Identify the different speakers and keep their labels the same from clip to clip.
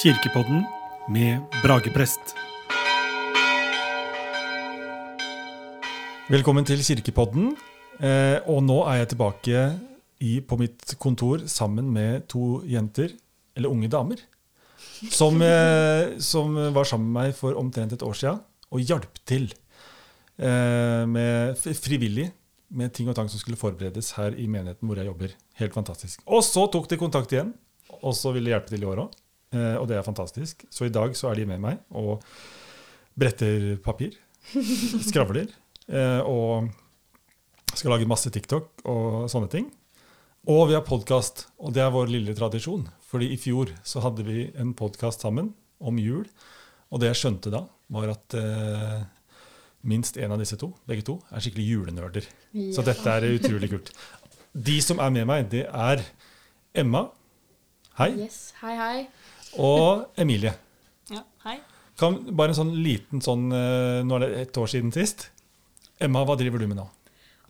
Speaker 1: Kirkepodden med Brageprest.
Speaker 2: Velkommen til Kirkepodden. Eh, og nå er jeg tilbake i, på mitt kontor sammen med to jenter, eller unge damer, som, eh, som var sammen med meg for omtrent et år siden og hjalp til eh, med, fri- frivillig med ting og tang som skulle forberedes her i menigheten hvor jeg jobber. Helt fantastisk. Og så tok de kontakt igjen, og så ville de hjelpe til i år òg. Eh, og det er fantastisk. Så i dag så er de med meg og bretter papir. Skravler. Eh, og skal lage masse TikTok og sånne ting. Og vi har podkast, og det er vår lille tradisjon. Fordi i fjor så hadde vi en podkast sammen om jul, og det jeg skjønte da, var at eh, minst én av disse to, begge to, er skikkelig julenerder. Så dette er utrolig kult. De som er med meg, det er Emma, hei,
Speaker 3: Yes, hei, hei.
Speaker 2: og Emilie.
Speaker 4: Ja, hei.
Speaker 2: Kan, bare en sånn liten sånn eh, Nå er det ett år siden sist. Emma, hva driver du med nå?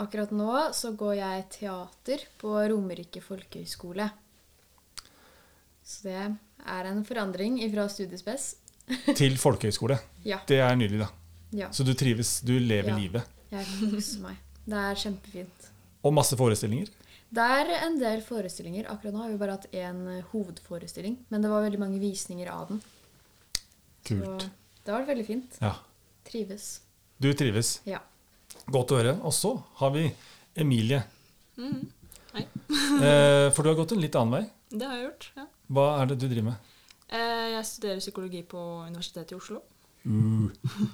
Speaker 3: Akkurat nå så går jeg teater på Romerike folkehøgskole. Så det er en forandring ifra studiespes.
Speaker 2: Til folkehøyskole.
Speaker 3: Ja.
Speaker 2: Det er nydelig, da.
Speaker 3: ja.
Speaker 2: Så du trives, du lever
Speaker 3: Ja.
Speaker 2: livet.
Speaker 3: Jeg koser meg. Det er kjempefint.
Speaker 2: Og masse forestillinger.
Speaker 3: Det er en del forestillinger. Akkurat nå har vi bare hatt én eh, hovedforestilling, men det var veldig mange visninger av den.
Speaker 2: Kult.
Speaker 3: det har vært veldig fint.
Speaker 2: Ja.
Speaker 3: Trives.
Speaker 2: Du trives.
Speaker 3: Ja.
Speaker 2: Godt å høre. Og så har vi Emilie.
Speaker 4: Mm-hmm. Hei.
Speaker 2: Eh, for du har gått en litt annen vei.
Speaker 4: Det har jeg gjort. ja.
Speaker 2: Hva er det du driver med?
Speaker 4: Eh, Jeg studerer psykologi på Universitetet i Oslo.
Speaker 2: Uh,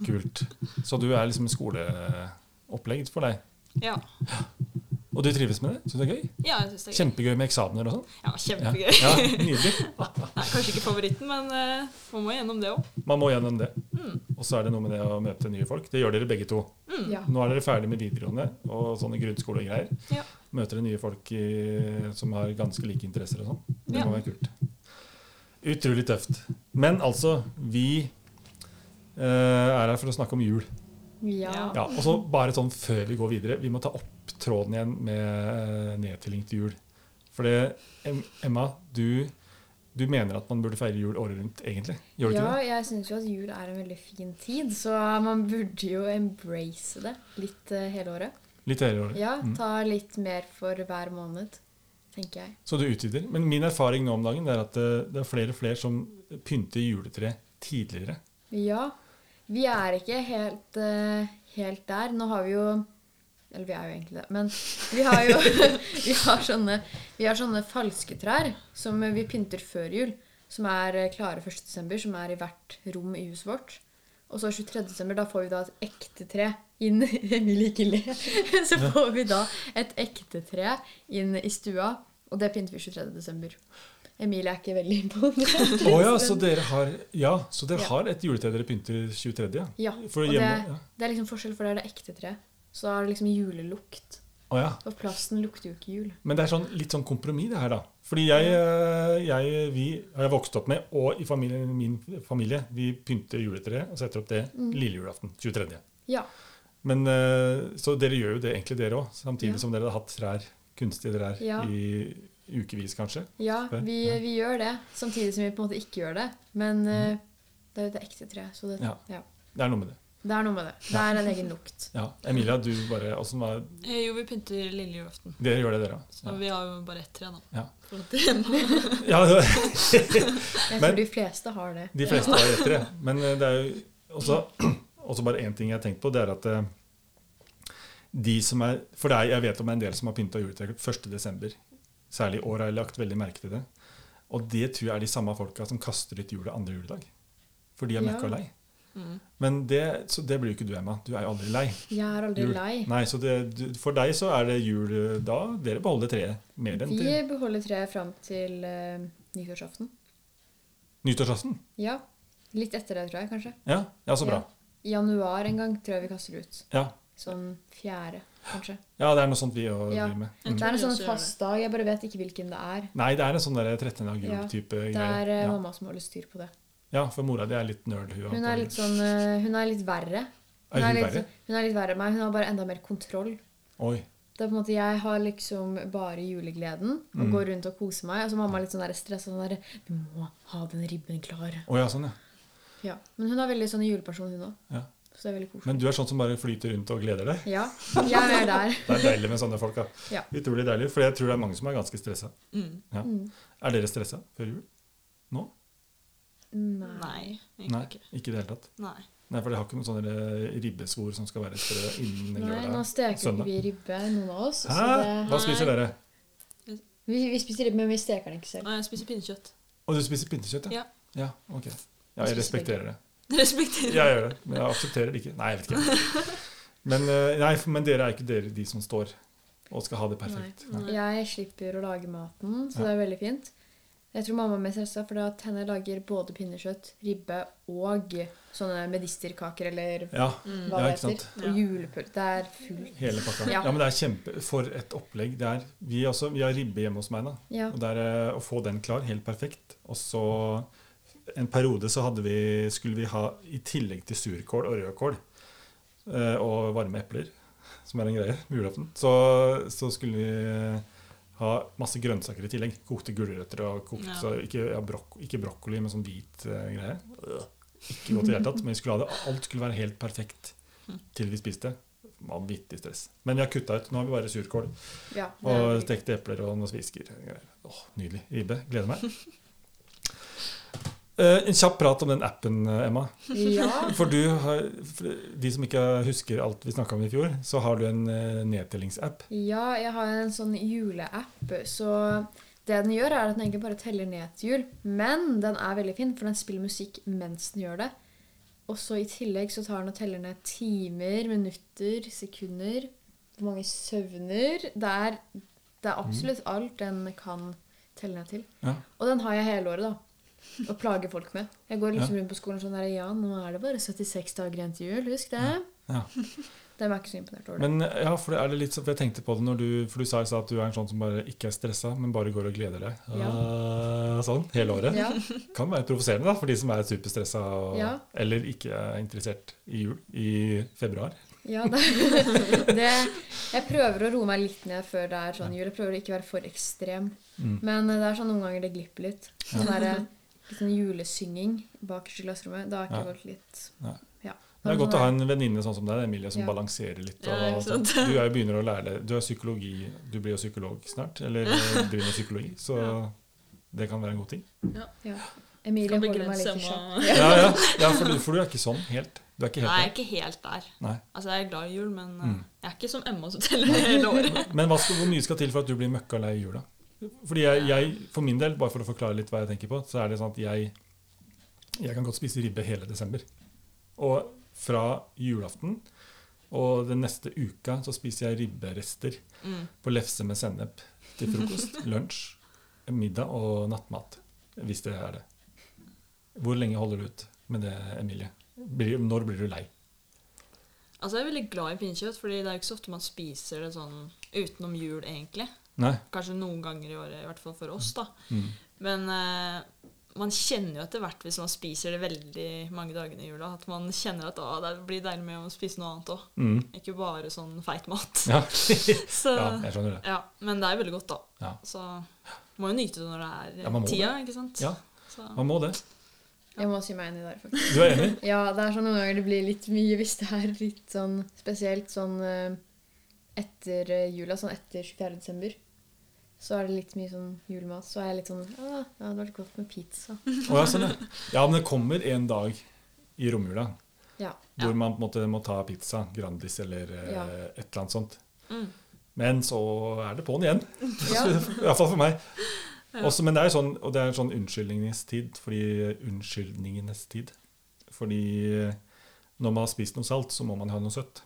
Speaker 2: kult. Så du er liksom skoleopplegg for deg.
Speaker 4: Ja,
Speaker 2: Og du trives med det? Syns det er gøy?
Speaker 4: ja jeg syns det er gøy.
Speaker 2: Kjempegøy med eksamener og sånn?
Speaker 4: Ja, kjempegøy.
Speaker 2: Ja, nydelig.
Speaker 4: Nei, kanskje ikke favoritten, men eh, man må gjennom det òg.
Speaker 2: Man må gjennom det. Og så er det noe med det å møte nye folk. Det gjør dere begge to.
Speaker 3: ja.
Speaker 2: Nå er dere ferdig med videregående og sånne grunnskolegreier.
Speaker 4: Ja.
Speaker 2: Møter dere nye folk i, som har ganske like interesser og sånn. Det
Speaker 4: Ja.
Speaker 2: må være kult. Utrolig tøft. Men altså, vi eh, er her for å snakke om jul.
Speaker 3: ja.
Speaker 4: Ja.
Speaker 2: Ja, og så bare sånn før vi går videre, vi må ta opp tråden igjen med eh, nedtelling til jul. For det, Em- Emma, du, du mener at man burde feire jul året rundt, egentlig? Gjør du
Speaker 3: ja,
Speaker 2: ikke det?
Speaker 3: jeg syns jo at jul er en veldig fin tid, så man burde jo embrace det litt eh, hele året.
Speaker 2: Litt hele året.
Speaker 3: Ja,
Speaker 2: Mm.
Speaker 3: ta litt mer for hver måned, tenker jeg.
Speaker 2: Så du utvider. Men min erfaring nå om dagen er at eh, det er flere og flere som pynter juletre tidligere.
Speaker 3: Ja, vi er ikke helt, eh, helt der. Nå har vi jo Eller vi er jo egentlig det, men vi har jo vi har sånne, vi har sånne falske trær som vi pynter før jul, som er eh, klare 1.12., som er i hvert rom i huset vårt. Og så 23.12., da får vi da et ekte tre inn Emilie ikke le. Så får vi da et ekte tre inn i stua, og det pynter vi 23.12. Emilie er ikke veldig imponert.
Speaker 2: Å ja, så dere har, ja, så dere
Speaker 3: Ja.
Speaker 2: har et juletre dere pynter 23. Ja.
Speaker 3: Ja,
Speaker 2: For
Speaker 3: og
Speaker 2: hjemme-
Speaker 3: det,
Speaker 2: ja.
Speaker 3: det er liksom forskjell, for det er det ekte treet. Så da er det liksom julelukt.
Speaker 2: Å ja.
Speaker 3: Og plasten lukter jo ikke jul.
Speaker 2: Men det er sånn, litt sånn kompromiss, det her, da. Fordi jeg, eh, jeg, vi, har jeg vokst opp med, og i familien, min familie, vi pynter juletreet og setter opp det lille julaften 23.
Speaker 3: Ja.
Speaker 2: Men, eh, så dere gjør jo det egentlig, dere òg. Samtidig
Speaker 3: Ja.
Speaker 2: som dere har hatt trær, kunstige trær
Speaker 3: Ja.
Speaker 2: i ukevis, kanskje.
Speaker 3: Ja,
Speaker 2: Spør,
Speaker 3: vi,
Speaker 2: ja. Mhm.
Speaker 3: vi gjør det. Samtidig som vi på en måte ikke gjør det. Men eh, det er jo det ekte treet, så det,
Speaker 2: Ja.
Speaker 3: ja.
Speaker 2: Det er noe med det.
Speaker 3: det er noe med det. Det er en egen lukt.
Speaker 2: Ja. Emilia, du bare åssen var
Speaker 4: Eh, Jo, vi pynter lille julaften.
Speaker 2: Dere gjør det, dere
Speaker 4: Så
Speaker 2: òg.
Speaker 4: vi har jo bare ett tre, da.
Speaker 2: Ja.
Speaker 4: For at det-
Speaker 2: Ja. Ja,
Speaker 3: Jeg
Speaker 2: Men-
Speaker 3: tror de fleste har det.
Speaker 2: De fleste har etter det. Men eh, det er jo også, også bare én ting jeg har tenkt på, det er at eh, de som er For det er, jeg vet om en del som har pynta juletre 1.12. Særlig i år har jeg lagt veldig merke til det. Og det tror jeg er de samme folka som kaster ut jula andre juledag. For de er
Speaker 3: Ja.
Speaker 2: møkka lei.
Speaker 4: Mm.
Speaker 2: Men det, så det blir jo ikke du, Emma. Du er jo aldri lei.
Speaker 3: Jeg er aldri
Speaker 2: Jul.
Speaker 3: lei.
Speaker 2: Nei, så det, du- For deg så er det jul eh, da. Dere beholder treet mer enn
Speaker 3: De
Speaker 2: til
Speaker 3: beholder treet fram til eh, nyttårsaften.
Speaker 2: nyttårsaften.
Speaker 3: Ja. Litt etter det, tror jeg, kanskje.
Speaker 2: Ja, ja, så bra.
Speaker 3: Ja. I januar en gang tror jeg vi kaster ut.
Speaker 2: Ja.
Speaker 3: Sånn fjerde, kanskje.
Speaker 2: ja, det er noe sånt vi òg
Speaker 3: Ja.
Speaker 2: driver med.
Speaker 4: Jeg
Speaker 3: Det er en
Speaker 4: tror vi
Speaker 3: sånn
Speaker 4: også gjør det.
Speaker 3: fast dag, jeg bare vet ikke hvilken det er.
Speaker 2: Nei, det er en sånn der 13. av
Speaker 3: Ja,
Speaker 2: jul-type
Speaker 3: Det
Speaker 2: greie.
Speaker 3: er eh,
Speaker 2: ja.
Speaker 3: mamma som holder styr på det.
Speaker 2: ja, for mora di er litt nerd. Hun,
Speaker 3: Hun er litt sånn eh, Hun er litt verre.
Speaker 2: Er hun
Speaker 3: litt,
Speaker 2: verre?
Speaker 3: hun er litt verre enn meg. Hun har bare enda mer kontroll.
Speaker 2: Oi.
Speaker 3: Det er på en måte, Jeg har liksom bare julegleden og
Speaker 2: Mm.
Speaker 3: går rundt og koser meg. Og så mamma er litt sånn der stressa. Sånn der, du må ha den ribben klar.
Speaker 2: Å ja, sånn, ja.
Speaker 3: Ja. Men hun er veldig sånn juleperson, hun òg.
Speaker 2: ja.
Speaker 3: Så det er veldig koselig.
Speaker 2: Men du er sånn som bare flyter rundt og gleder deg?
Speaker 3: Ja, jeg er der.
Speaker 2: Det er deilig med sånne folk. da.
Speaker 3: Ja.
Speaker 2: Utrolig deilig, for jeg tror det er mange som er ganske stressa.
Speaker 4: Mm.
Speaker 2: Ja. Er dere stressa før jul? Nå?
Speaker 3: Nei.
Speaker 4: Nei, egentlig
Speaker 2: Nei,
Speaker 4: ikke.
Speaker 2: ikke i det hele tatt.
Speaker 4: Nei.
Speaker 2: Nei, for dere har ikke noen sånne eh, ribbesvor som skal være etter innen
Speaker 3: Nei, nå
Speaker 2: lørdag?
Speaker 3: steker
Speaker 2: søndag.
Speaker 3: ikke vi ribbe, noen av oss.
Speaker 2: Sånn, Hæ?
Speaker 3: Så det,
Speaker 2: Hva spiser
Speaker 4: Nei.
Speaker 2: dere?
Speaker 3: vi, vi spiser ribbe, men vi steker den ikke selv.
Speaker 4: Nei, jeg spiser pinnekjøtt.
Speaker 2: Å, du spiser pinnekjøtt, ja?
Speaker 4: Ja.
Speaker 2: Ja, ok. Ja, jeg
Speaker 3: Jeg spiser begge.
Speaker 2: respekterer det.
Speaker 4: Respekterer.
Speaker 2: Jeg gjør det, men jeg aksepterer det ikke. Nei, jeg vet ikke. Men, eh, nei, for- men dere er ikke dere de som står og skal ha det perfekt. Nei.
Speaker 4: Nei.
Speaker 3: Jeg slipper å lage maten, så
Speaker 2: Ja.
Speaker 3: det er veldig fint. Jeg tror mamma er mest stressa, for at henne lager både pinnekjøtt, ribbe og sånne medisterkaker eller
Speaker 2: Ja,
Speaker 4: Mm.
Speaker 3: hva
Speaker 2: Ja,
Speaker 3: det
Speaker 2: ikke
Speaker 3: heter.
Speaker 4: sant. Ja.
Speaker 3: Og julepølse. Det er fullt.
Speaker 2: hele pakka.
Speaker 3: Ja.
Speaker 2: Ja, men det er kjempe... For et opplegg det er. Vi, også, vi har ribbe hjemme hos meg, da.
Speaker 3: Ja.
Speaker 2: Og der, eh, å få den klar, helt perfekt. Og så en periode så hadde vi, skulle vi ha i tillegg til surkål og rødkål eh, og varme epler, som er en greie på julaften, så, så skulle vi eh, ha masse grønnsaker i tillegg. Kokte gulrøtter og kokt
Speaker 4: Ja.
Speaker 2: så ikke, ja, brok ikke brokkoli, men sånn hvit eh, greie. Ikke godt i det hele tatt, men vi skulle ha det, alt skulle være helt perfekt til vi spiste. Vanvittig stress. Men vi har kutta ut. Nå har vi bare surkål.
Speaker 3: Ja, det er
Speaker 2: Og
Speaker 3: veldig-
Speaker 2: stekte epler og noen svisker. Åh, nydelig. Ribbe. Gleder meg. Eh, en kjapp prat om den appen, eh, Emma.
Speaker 3: ja.
Speaker 2: For, du har, for de som ikke husker alt vi snakka om i fjor, så har du en eh, nedtellingsapp.
Speaker 3: ja, jeg har en sånn juleapp, så det den gjør, er at den egentlig bare teller ned til jul. Men den er veldig fin, for den spiller musikk mens den gjør det. Og så i tillegg så tar den og teller ned timer, minutter, sekunder, hvor mange søvner. Det er, det er absolutt alt den kan telle ned til.
Speaker 2: Mm. Ja.
Speaker 3: Og den har jeg hele året, da. Og plager folk med. Jeg går liksom rundt på skolen sånn der Ja, nå er det bare 76 dager igjen til jul, husk det.
Speaker 2: Ja.
Speaker 3: De er ikke så imponert over det.
Speaker 2: Men eh, ja, for det er det litt sånn, for jeg tenkte på det når du For du sa i stad at du er en sånn som bare ikke er stressa, men bare går og gleder deg. Ah, sånn hele året.
Speaker 3: Ja,
Speaker 2: Kan være provoserende da, for de som er superstressa og,
Speaker 3: Ja.
Speaker 2: eller ikke er interessert i jul i februar.
Speaker 3: ja det, det Jeg prøver å roe meg litt ned før det er sånn jul. Jeg prøver å ikke være for ekstrem.
Speaker 2: Mm.
Speaker 3: Men eh, det er sånn noen ganger det glipper litt. Sånn derre litt sånn julesynging bakerst i klasserommet. Da er ikke
Speaker 2: Ja.
Speaker 3: folk litt
Speaker 2: Nei.
Speaker 3: Ja.
Speaker 2: Det er godt å ha en venninne sånn som deg, Emilie, som
Speaker 3: Ja.
Speaker 2: balanserer litt. Og,
Speaker 4: Ja, ikke sant?
Speaker 2: sånn. Du er jo begynner å lære deg Du er psykologi, du blir jo psykolog snart, eller eh, driver med psykologi, så
Speaker 4: Ja.
Speaker 2: det kan være en god ting.
Speaker 3: ja. Emilie
Speaker 4: Kan
Speaker 3: holder meg
Speaker 4: begrense
Speaker 3: litt i sjakk.
Speaker 4: meg.
Speaker 2: Ja, ja, ja for, du, for du er ikke sånn helt. Du er ikke
Speaker 4: Nei, jeg er
Speaker 2: helt
Speaker 4: ikke helt der.
Speaker 2: der. Nei.
Speaker 4: Altså, jeg er glad i jul, men eh,
Speaker 2: Mm.
Speaker 4: jeg er ikke som Emma som teller hele året.
Speaker 2: Men hva skal, hvor mye skal til for at du blir møkka lei i jula? Fordi jeg, jeg, for min del, bare for å forklare litt hva jeg tenker på, så er det sånn at jeg, jeg kan godt spise ribbe hele desember. Og fra julaften og den neste uka så spiser jeg ribberester
Speaker 4: Mm.
Speaker 2: på lefse med sennep til frokost, lunsj, middag og nattmat. Hvis det er det. Hvor lenge holder du ut med det, Emilie? Blir, når blir du lei?
Speaker 4: Altså, jeg er veldig glad i pinnekjøtt, fordi det er jo ikke så ofte man spiser det sånn utenom jul, egentlig.
Speaker 2: Nei?
Speaker 4: Kanskje noen ganger i året, i hvert fall for oss, da.
Speaker 2: Mm.
Speaker 4: Men eh, man kjenner jo etter hvert, hvis man spiser det veldig mange dagene i jula, at man kjenner at å, det blir deilig med å spise noe annet òg.
Speaker 2: Mm.
Speaker 4: Ikke bare sånn feit mat.
Speaker 2: Ja.
Speaker 4: Så,
Speaker 2: ja,
Speaker 4: ja,
Speaker 2: jeg skjønner det.
Speaker 4: Men det er veldig godt, da.
Speaker 2: Ja.
Speaker 4: Så må jo nyte det når det er
Speaker 2: Ja, man må
Speaker 4: tida, ikke sant?
Speaker 2: Ja.
Speaker 4: Så,
Speaker 2: Man må det.
Speaker 3: Jeg må si meg enig der, faktisk.
Speaker 2: Du er enig?
Speaker 3: Ja, det er sånn noen ganger det blir litt mye hvis det er litt sånn spesielt sånn eh, etter eh, jula, sånn etter 24. desember. Så er det litt mye sånn julemat. Så er jeg litt sånn ah, Ja, det var litt godt med pizza.
Speaker 2: Å, ja, sånn, ja. ja, men det kommer en dag i romjula
Speaker 3: Ja.
Speaker 2: hvor
Speaker 4: Ja.
Speaker 2: man på en måte må ta pizza, Grandis eller eh,
Speaker 3: Ja.
Speaker 2: et eller annet sånt.
Speaker 4: mm.
Speaker 2: Men så er det på'n igjen.
Speaker 3: Ja.
Speaker 2: Iallfall for meg. Også, men det er jo sånn, og det er en sånn unnskyldningenes tid, fordi eh, unnskyldningenes tid. Fordi eh, når man har spist noe salt, så må man ha noe søtt.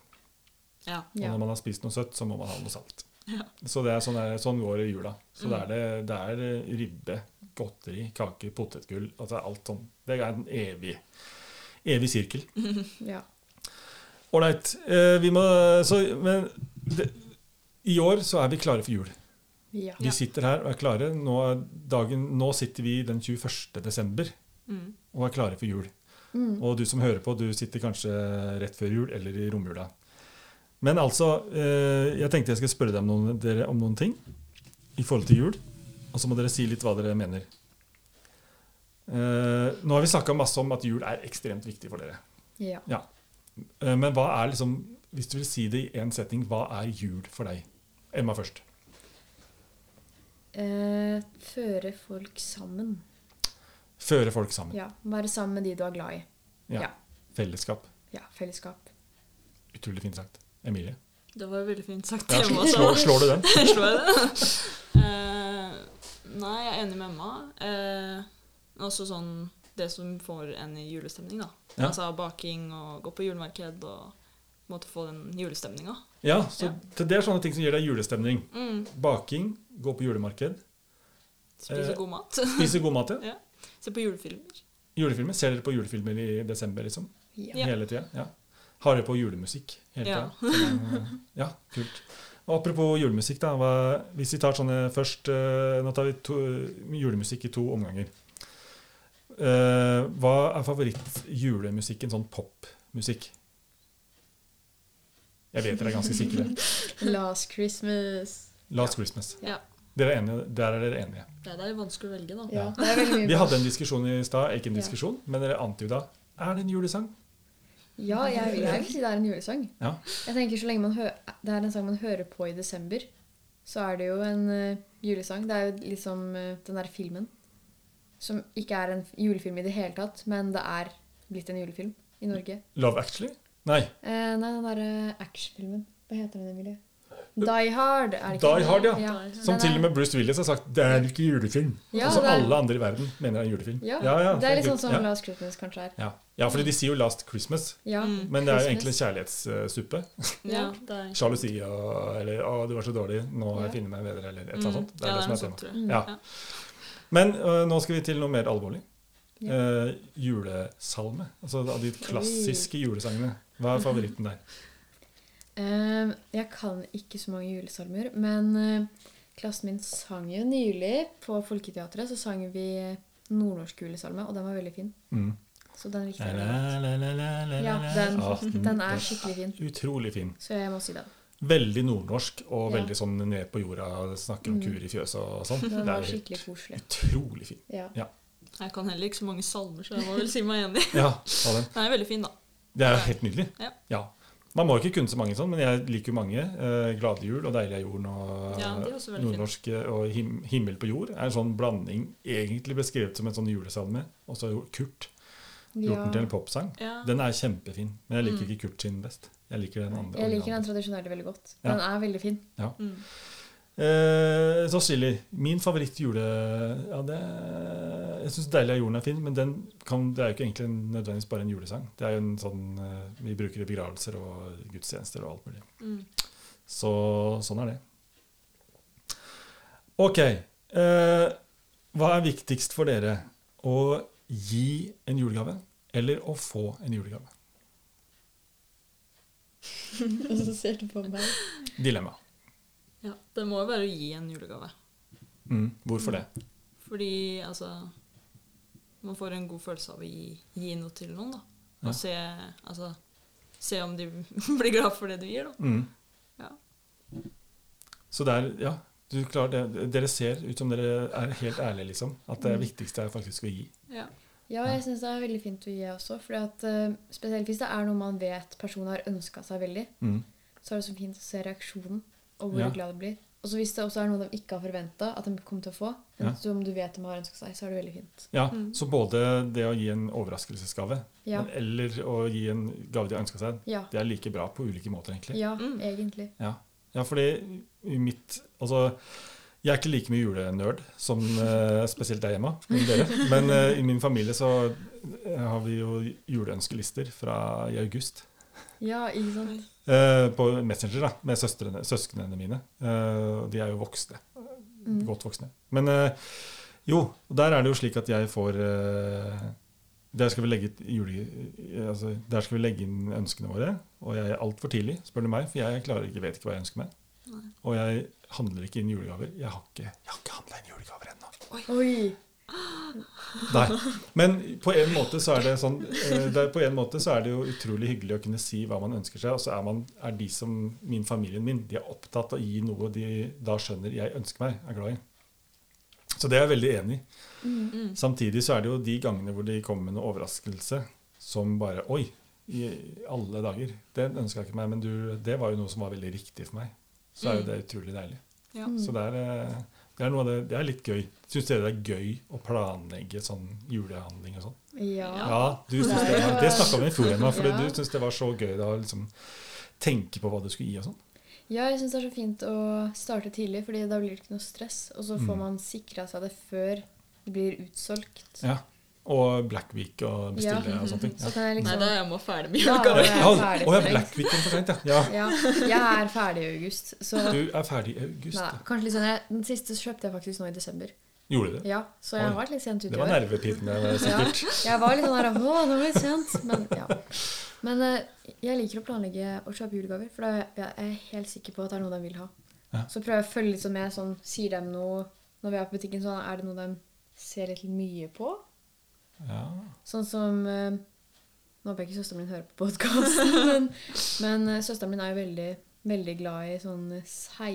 Speaker 4: ja.
Speaker 2: Og
Speaker 3: ja.
Speaker 2: når man har spist noe søtt, så må man ha noe salt.
Speaker 4: Ja.
Speaker 2: Så det er sånn, det er, sånn går det i jula. Så det,
Speaker 4: Mm.
Speaker 2: er det, det er eh, ribbe, godteri, kaker, potetgull. Altså alt sånn. Det er en evig, evig sirkel.
Speaker 3: ja.
Speaker 2: Ålreit. Eh, vi må så, Men det, i år så er vi klare for jul.
Speaker 3: ja.
Speaker 2: Vi sitter her og er klare. Nå, er dagen, nå sitter vi den 21. desember
Speaker 4: Mm.
Speaker 2: og er klare for jul.
Speaker 3: Mm.
Speaker 2: Og du som hører på, du sitter kanskje rett før jul eller i romjula. Men altså, eh, jeg tenkte jeg skulle spørre deg om noen, dere om noen ting i forhold til jul. Og så må dere si litt hva dere mener. Eh, nå har vi snakka masse om at jul er ekstremt viktig for dere.
Speaker 3: Ja.
Speaker 2: Ja. Eh, men hva er liksom, hvis du vil si det i én setning, hva er jul for deg? Emma først.
Speaker 3: Eh, føre folk sammen.
Speaker 2: Føre folk sammen.
Speaker 3: Ja. Være sammen med de du er glad i.
Speaker 2: Ja.
Speaker 3: Ja.
Speaker 2: Fellesskap.
Speaker 3: Ja, fellesskap.
Speaker 2: Utrolig fint sagt. Emilie.
Speaker 4: Det var veldig fint sagt.
Speaker 2: Ja,
Speaker 4: Emma,
Speaker 2: slår, slår,
Speaker 4: altså.
Speaker 2: slår du den?
Speaker 4: Slår jeg det? Eh, nei, jeg er enig med Emma. Eh, også sånn det som får en i julestemning, da.
Speaker 2: Ja.
Speaker 4: Altså baking og gå på julemarked og på en måte få den julestemninga.
Speaker 2: Ja, så
Speaker 4: Ja.
Speaker 2: det- det er sånne ting som gir deg julestemning.
Speaker 4: Mm.
Speaker 2: Baking, gå på julemarked,
Speaker 4: Spise
Speaker 2: Eh.
Speaker 4: god mat.
Speaker 2: spise god mat. ja.
Speaker 4: ja. Se på julefilmer.
Speaker 2: Julefilmer. Ser dere på julefilmer i desember, liksom?
Speaker 3: Ja.
Speaker 4: Ja.
Speaker 2: Hele tida? Ja. Har dere på julemusikk hele
Speaker 4: Ja.
Speaker 2: tida? Ja. ja, kult. Og apropos julemusikk, da. Hva, hvis vi tar sånne først eh, Nå tar vi to, julemusikk i to omganger. Eh, hva er favoritt-julemusikken, sånn popmusikk? Jeg vet dere er ganske sikre.
Speaker 3: Last Christmas.
Speaker 2: Last Christmas.
Speaker 4: Ja.
Speaker 2: Dere er enige, der er dere enige.
Speaker 4: Det er det vanskelig å velge, da.
Speaker 3: Ja, det er veldig
Speaker 2: Vi
Speaker 3: mye.
Speaker 2: hadde en diskusjon i stad, ikke en
Speaker 3: Ja.
Speaker 2: diskusjon, men dere antyda Er det en julesang?
Speaker 3: Ja, jeg, jeg vil si det er en julesang.
Speaker 2: Ja.
Speaker 3: Jeg tenker så lenge man hø Det er en sang man hører på i desember, så er det jo en eh, julesang. Det er jo liksom eh, den der filmen som ikke er en f- julefilm i det hele tatt, men det er blitt en julefilm i Norge.
Speaker 2: Love Actually? Nei.
Speaker 3: Eh, nei, den derre actionfilmen. Hva heter den, Emilie? Die Hard. er det ikke
Speaker 2: Eh, Die
Speaker 3: den?
Speaker 2: Hard, ja.
Speaker 3: Den
Speaker 2: Som til
Speaker 3: er-
Speaker 2: og med Bruce Willis har sagt 'det er ikke julefilm'.
Speaker 3: Ja,
Speaker 2: og som
Speaker 3: det er-
Speaker 2: alle andre i verden mener er julefilm.
Speaker 3: Ja,
Speaker 2: det
Speaker 3: det er litt sånn
Speaker 2: kult.
Speaker 3: som
Speaker 2: ja.
Speaker 3: Last Christmas kanskje er.
Speaker 2: Ja. ja, fordi de sier jo 'Last Christmas',
Speaker 3: Ja,
Speaker 4: Mm.
Speaker 2: men det er jo egentlig
Speaker 3: Christmas.
Speaker 2: kjærlighetssuppe.
Speaker 4: Ja, det er
Speaker 2: Sjalusi og eller 'å, du var så dårlig, nå har jeg
Speaker 3: Ja.
Speaker 2: funnet meg bedre', eller et eller annet
Speaker 4: Mm.
Speaker 2: sånt. Det er
Speaker 4: Ja,
Speaker 2: det som
Speaker 4: noe
Speaker 2: er temaet.
Speaker 4: sånt, tror jeg.
Speaker 3: Mm.
Speaker 2: Ja.
Speaker 4: Ja.
Speaker 2: Men øh, nå skal vi til noe mer alvorlig.
Speaker 3: Ja.
Speaker 2: Eh, julesalme. Altså av de klassiske julesangene. Hva er favoritten der?
Speaker 3: Eh, jeg kan ikke så mange julesalmer, men eh, klassen min sang jo nylig på Folketeatret, så sang vi eh, nordnorsk julesalme, og den var veldig fin.
Speaker 2: Mm.
Speaker 3: Så den likte jeg. veldig godt. Ja, den,
Speaker 2: Den,
Speaker 3: den er skikkelig fin.
Speaker 2: Utrolig fin.
Speaker 3: Så jeg må si den.
Speaker 2: Veldig nordnorsk og
Speaker 3: Ja.
Speaker 2: veldig sånn ned på jorda. Snakker om
Speaker 3: Mm.
Speaker 2: kuer i fjøset og sånn.
Speaker 3: Den
Speaker 2: Det
Speaker 3: var
Speaker 2: er helt
Speaker 3: skikkelig koselig.
Speaker 2: utrolig fin.
Speaker 3: Ja.
Speaker 4: Jeg kan heller ikke så mange salmer, så jeg må vel si meg enig.
Speaker 2: Ja, ta den.
Speaker 4: Den er veldig fin, da.
Speaker 2: Det er helt nydelig.
Speaker 4: Ja.
Speaker 2: Man må ikke kunne så mange sånn, men jeg liker jo mange. Eh, 'Glade jul' og 'Deilig er jorden' og
Speaker 4: Ja, de er også veldig fine.
Speaker 2: nordnorsk eh, og him 'Himmel på jord' er en sånn blanding egentlig beskrevet som en sånn julesalme. Og så har jo Kurt gjort den til en
Speaker 3: Ja.
Speaker 2: popsang.
Speaker 4: Ja. Mm.
Speaker 2: Den er kjempefin, men jeg liker ikke Kurt sin best. Jeg liker den andre.
Speaker 3: Jeg liker
Speaker 2: originale.
Speaker 3: den tradisjonelle veldig godt.
Speaker 2: Ja.
Speaker 3: Den er veldig fin.
Speaker 4: Mm.
Speaker 2: Eh, så Silly, min favorittjule ja, det, Jeg syns 'Deilig er jorden' er fin, men den kan, det er jo ikke egentlig en- nødvendigvis bare en julesang. Det er jo en sånn eh, Vi bruker det i begravelser og gudstjenester og alt mulig.
Speaker 4: Mm.
Speaker 2: Så sånn er det. Ok. Eh, hva er viktigst for dere? Å gi en julegave eller å få en julegave?
Speaker 3: Og så ser du på meg.
Speaker 2: Dilemma.
Speaker 4: ja. Det må jo være å gi en julegave.
Speaker 2: Mm, hvorfor det?
Speaker 4: Fordi altså Man får en god følelse av å gi, gi noe til noen, da. Og
Speaker 2: Ja.
Speaker 4: se, altså, se om de blir glad for det du gir, da.
Speaker 2: Mm.
Speaker 4: Ja.
Speaker 2: Så det er, ja, du klarer det. Dere ser ut som dere er helt ærlige, liksom. At det viktigste er faktisk å gi.
Speaker 4: Ja.
Speaker 3: Ja, jeg syns det er veldig fint å gi også. Fordi at, eh, spesielt hvis det er noe man vet personen har ønska seg veldig,
Speaker 2: Mm.
Speaker 3: så er det så fint å se reaksjonen og hvor
Speaker 2: Ja.
Speaker 3: glad de blir. Og så hvis det også er noe de ikke har forventa at de kommer til å få,
Speaker 2: Ja.
Speaker 3: men som du vet de har ønska seg, så er det veldig fint.
Speaker 2: Ja,
Speaker 4: Mm.
Speaker 2: Så både det å gi en overraskelsesgave
Speaker 3: Ja.
Speaker 2: men eller å gi en gave de har ønska seg,
Speaker 3: Ja,
Speaker 2: det er like bra på ulike måter, egentlig.
Speaker 3: ja
Speaker 4: Mm.
Speaker 3: egentlig.
Speaker 2: Ja, ja fordi i mitt Altså, jeg er ikke like mye julenerd som eh, spesielt deg, Emma, men dere. Men eh, i min familie så eh, har vi jo juleønskelister fra i august.
Speaker 3: Ja, ikke sant?
Speaker 2: Eh, på Messenger da, med søstrene, søsknene mine. Eh, og de er jo voksne.
Speaker 3: Mm.
Speaker 2: Godt voksne. Men eh, jo, der er det jo slik at jeg får eh, der, skal vi legge ut jule, eh, altså, der skal vi legge inn ønskene våre. Og jeg er altfor tidlig, spør du meg, for jeg klarer ikke, vet ikke hva jeg ønsker meg.
Speaker 4: Nei.
Speaker 2: Og jeg handler ikke inn julegaver. Jeg har ikke, jeg har ikke handla inn julegaver ennå.
Speaker 3: Oi!
Speaker 2: Nei. Men på en måte så er det sånn eh, det er, På en måte så er det jo utrolig hyggelig å kunne si hva man ønsker seg, og så er, man, er de som min familien min, de er opptatt av å gi noe de da skjønner jeg ønsker meg, er glad i. Så det er jeg veldig enig i.
Speaker 3: Mm.
Speaker 2: Samtidig så er det jo de gangene hvor de kommer med en overraskelse som bare Oi, i alle dager. Det ønska jeg ikke meg, men du, det var jo noe som var veldig riktig for meg. Så er jo det utrolig deilig.
Speaker 4: Ja.
Speaker 2: Så
Speaker 3: Mm.
Speaker 2: det er, eh, det er noe av det Det er litt gøy. Syns dere det er gøy å planlegge sånn julehandling og sånn?
Speaker 3: Ja.
Speaker 2: Ja, du synes
Speaker 3: Nei,
Speaker 2: det, var-
Speaker 3: det
Speaker 2: det snakka vi om i fjor ennå, for
Speaker 3: Ja.
Speaker 2: du syntes det var så gøy da å liksom tenke på hva du skulle gi og sånn.
Speaker 3: ja, jeg syns det er så fint å starte tidlig, Fordi da blir det ikke noe stress. Og så får
Speaker 2: Mm.
Speaker 3: man sikra seg det før det blir utsolgt.
Speaker 2: Ja. Og Black Week og bestille
Speaker 3: Ja.
Speaker 2: og sånne ting.
Speaker 3: Så kan jeg
Speaker 4: Nei,
Speaker 3: liksom
Speaker 4: da er jeg må ferdig med
Speaker 3: Da
Speaker 4: julegaver.
Speaker 3: er jeg
Speaker 2: Ja,
Speaker 3: ferdig
Speaker 2: å ja,
Speaker 3: for lengst.
Speaker 2: Black Week kom for sent, ja. ja.
Speaker 3: Ja, jeg er ferdig i august. Så nei,
Speaker 2: Du er ferdig i august. da.
Speaker 3: kanskje litt sånn jeg- Den siste kjøpte jeg faktisk nå i desember.
Speaker 2: Gjorde du det?
Speaker 3: Ja, Så jeg har
Speaker 2: Oi.
Speaker 3: vært litt sent ute
Speaker 2: Det
Speaker 3: i
Speaker 2: var
Speaker 3: år.
Speaker 2: nervepirrende,
Speaker 3: Ja,
Speaker 2: sikkert.
Speaker 3: jeg var litt sånn der Å, nå ble det sent. Men ja. Men eh, jeg liker å planlegge og kjøpe julegaver, for da er jeg- jeg er helt sikker på at det er noe de vil ha.
Speaker 2: Ja.
Speaker 3: Så prøver jeg å følge litt sånn med. Sånn, sier dem noe når vi er på butikken, sånn er det noe de ser litt mye på?
Speaker 2: Ja.
Speaker 3: Sånn som eh, Nå håper jeg ikke søsteren min hører på podkasten, men, men eh, søsteren min er jo veldig, veldig glad i sånn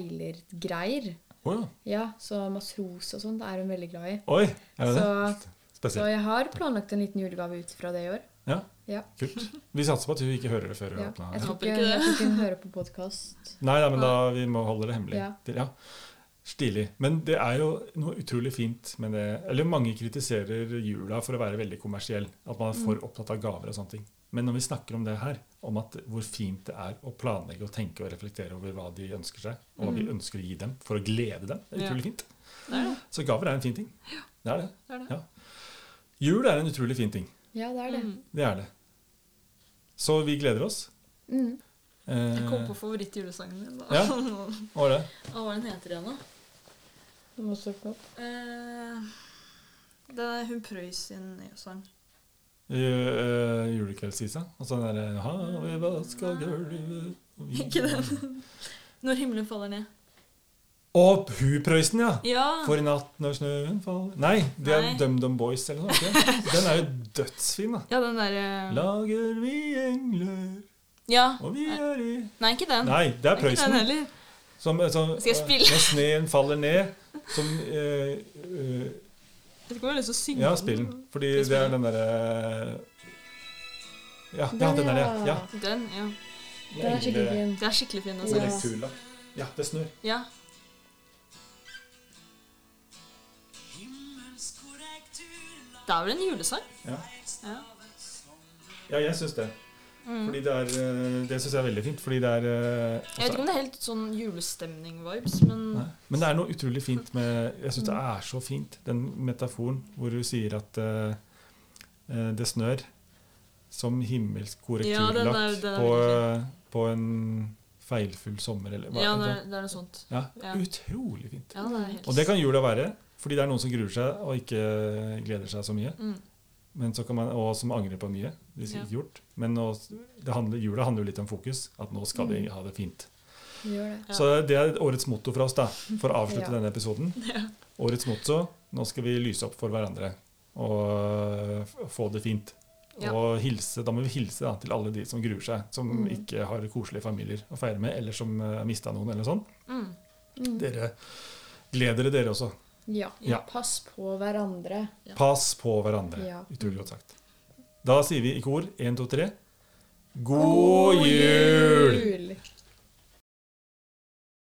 Speaker 3: seilergreier.
Speaker 2: Å ja.
Speaker 3: Ja, så matros og sånt er hun veldig glad i.
Speaker 2: Oi, er det det?
Speaker 3: Så, så
Speaker 2: Spesielt.
Speaker 3: jeg har planlagt en liten julegave ut fra det i år.
Speaker 2: Ja,
Speaker 3: Ja.
Speaker 2: kult. Vi satser på at hun ikke hører det før hun
Speaker 3: ja.
Speaker 2: åpner.
Speaker 3: Jeg
Speaker 2: Ja.
Speaker 3: tror
Speaker 4: håper
Speaker 3: ikke,
Speaker 4: ikke det.
Speaker 3: jeg tror ikke hun hører på podkast.
Speaker 2: Nei, nei, men da vi må holde det hemmelig.
Speaker 3: Ja.
Speaker 2: Det- Ja. Stilig. Men det er jo noe utrolig fint med det Eller mange kritiserer jula for å være veldig kommersiell. At man er for
Speaker 4: Mm.
Speaker 2: opptatt av gaver og sånne ting. Men når vi snakker om det her, om at hvor fint det er å planlegge og tenke og reflektere over hva de ønsker seg, og hva vi ønsker å gi dem for å glede dem, det er
Speaker 4: Mm. Ja.
Speaker 2: utrolig fint.
Speaker 4: Det er det.
Speaker 2: Så gaver er en fin ting. Det er det.
Speaker 4: det, er det.
Speaker 2: Ja. Jul er en utrolig fin ting.
Speaker 3: Ja, det er det.
Speaker 4: Mm.
Speaker 2: Det er det. Så vi gleder oss.
Speaker 3: Mm.
Speaker 2: Eh,
Speaker 4: Jeg kom på favorittjulesangen min. da.
Speaker 2: Ja. hva var det?
Speaker 4: Å, Hva den heter den, da?
Speaker 3: Du må søke opp.
Speaker 4: Eh, det er hun Prøys sin sang.
Speaker 2: Uh, Julekveldsisa. Og så den derre «Havet vasker gulvet, og vi-
Speaker 4: Ikke den. Når himmelen faller ned.
Speaker 2: Å, Huprøysen, ja!
Speaker 4: Ja!
Speaker 2: For i natt når snøen faller Nei, det er
Speaker 4: Nei.
Speaker 2: DumDum Boys eller noe. ikke? Den er jo dødsfin, da.
Speaker 4: Ja, den derre
Speaker 2: Lager vi engler,
Speaker 4: Ja.
Speaker 2: og vi er i
Speaker 4: Nei, ikke den.
Speaker 2: Nei, det er
Speaker 4: Ikke den
Speaker 2: Prøysen.
Speaker 4: heller.
Speaker 2: Som, eh, som,
Speaker 4: Skal jeg spille?
Speaker 2: Når sneen faller ned, som eh, eh,
Speaker 4: Jeg tror jeg har lyst til å synge
Speaker 2: Ja, spill den. Fordi det er
Speaker 4: Skal jeg spille?
Speaker 2: den derre ja, ja, den er det. Ja.
Speaker 4: Den, ja.
Speaker 3: Den er skikkelig fin.
Speaker 4: Det er skikkelig fin.
Speaker 3: Ja.
Speaker 4: Altså.
Speaker 2: Ja, det snør.
Speaker 4: Ja. Det er vel en julesang?
Speaker 2: Ja.
Speaker 4: Ja.
Speaker 2: Ja, jeg syns det.
Speaker 4: Mm.
Speaker 2: Fordi det er eh, Det syns jeg er veldig fint. Fordi det er eh,
Speaker 4: Jeg vet
Speaker 2: også-
Speaker 4: ikke om det er helt sånn julestemning-vibes, men
Speaker 2: Nei. Men det er noe utrolig fint med Jeg syns
Speaker 4: Mm.
Speaker 2: det er så fint, den metaforen hvor du sier at eh, eh, det snør som himmelsk
Speaker 4: Ja, den er-
Speaker 2: korrekturlakk
Speaker 4: den er
Speaker 2: på,
Speaker 4: veldig
Speaker 2: eh, på en feilfull sommer, eller hva
Speaker 4: ja,
Speaker 2: enn
Speaker 4: det er,
Speaker 2: det-
Speaker 4: det er noe sånt.
Speaker 2: ja,
Speaker 4: ja.
Speaker 2: Utrolig fint.
Speaker 4: Ja, det er helt
Speaker 2: Og det kan jula være, fordi det er noen som gruer seg og ikke eh, gleder seg så mye.
Speaker 4: mm.
Speaker 2: men så kan man, og som angrer på mye. Det er
Speaker 4: Ja.
Speaker 2: ikke gjort. Men nå, det handler, jula handler jo litt om fokus. At nå skal vi ha det fint.
Speaker 3: Du gjør det.
Speaker 4: Mm. Ja.
Speaker 2: Så det er årets motto fra oss, da, for å avslutte
Speaker 3: Ja.
Speaker 2: denne episoden. Årets motto nå skal vi lyse opp for hverandre og øh, f- få det fint.
Speaker 4: Ja.
Speaker 2: Og hilse, da må vi hilse da, til alle de som gruer seg, som
Speaker 3: Mm.
Speaker 2: ikke har koselige familier å feire med, eller som har mista noen, eller sånn.
Speaker 4: Mm.
Speaker 3: Mm.
Speaker 2: Dere gleder dere, dere også.
Speaker 3: Ja.
Speaker 2: Ja.
Speaker 3: Pass på hverandre.
Speaker 4: Ja.
Speaker 2: Pass på hverandre.
Speaker 3: Ja.
Speaker 2: Utrolig godt sagt. Da sier vi i kor 1, 2, 3 God jul!
Speaker 3: Jul.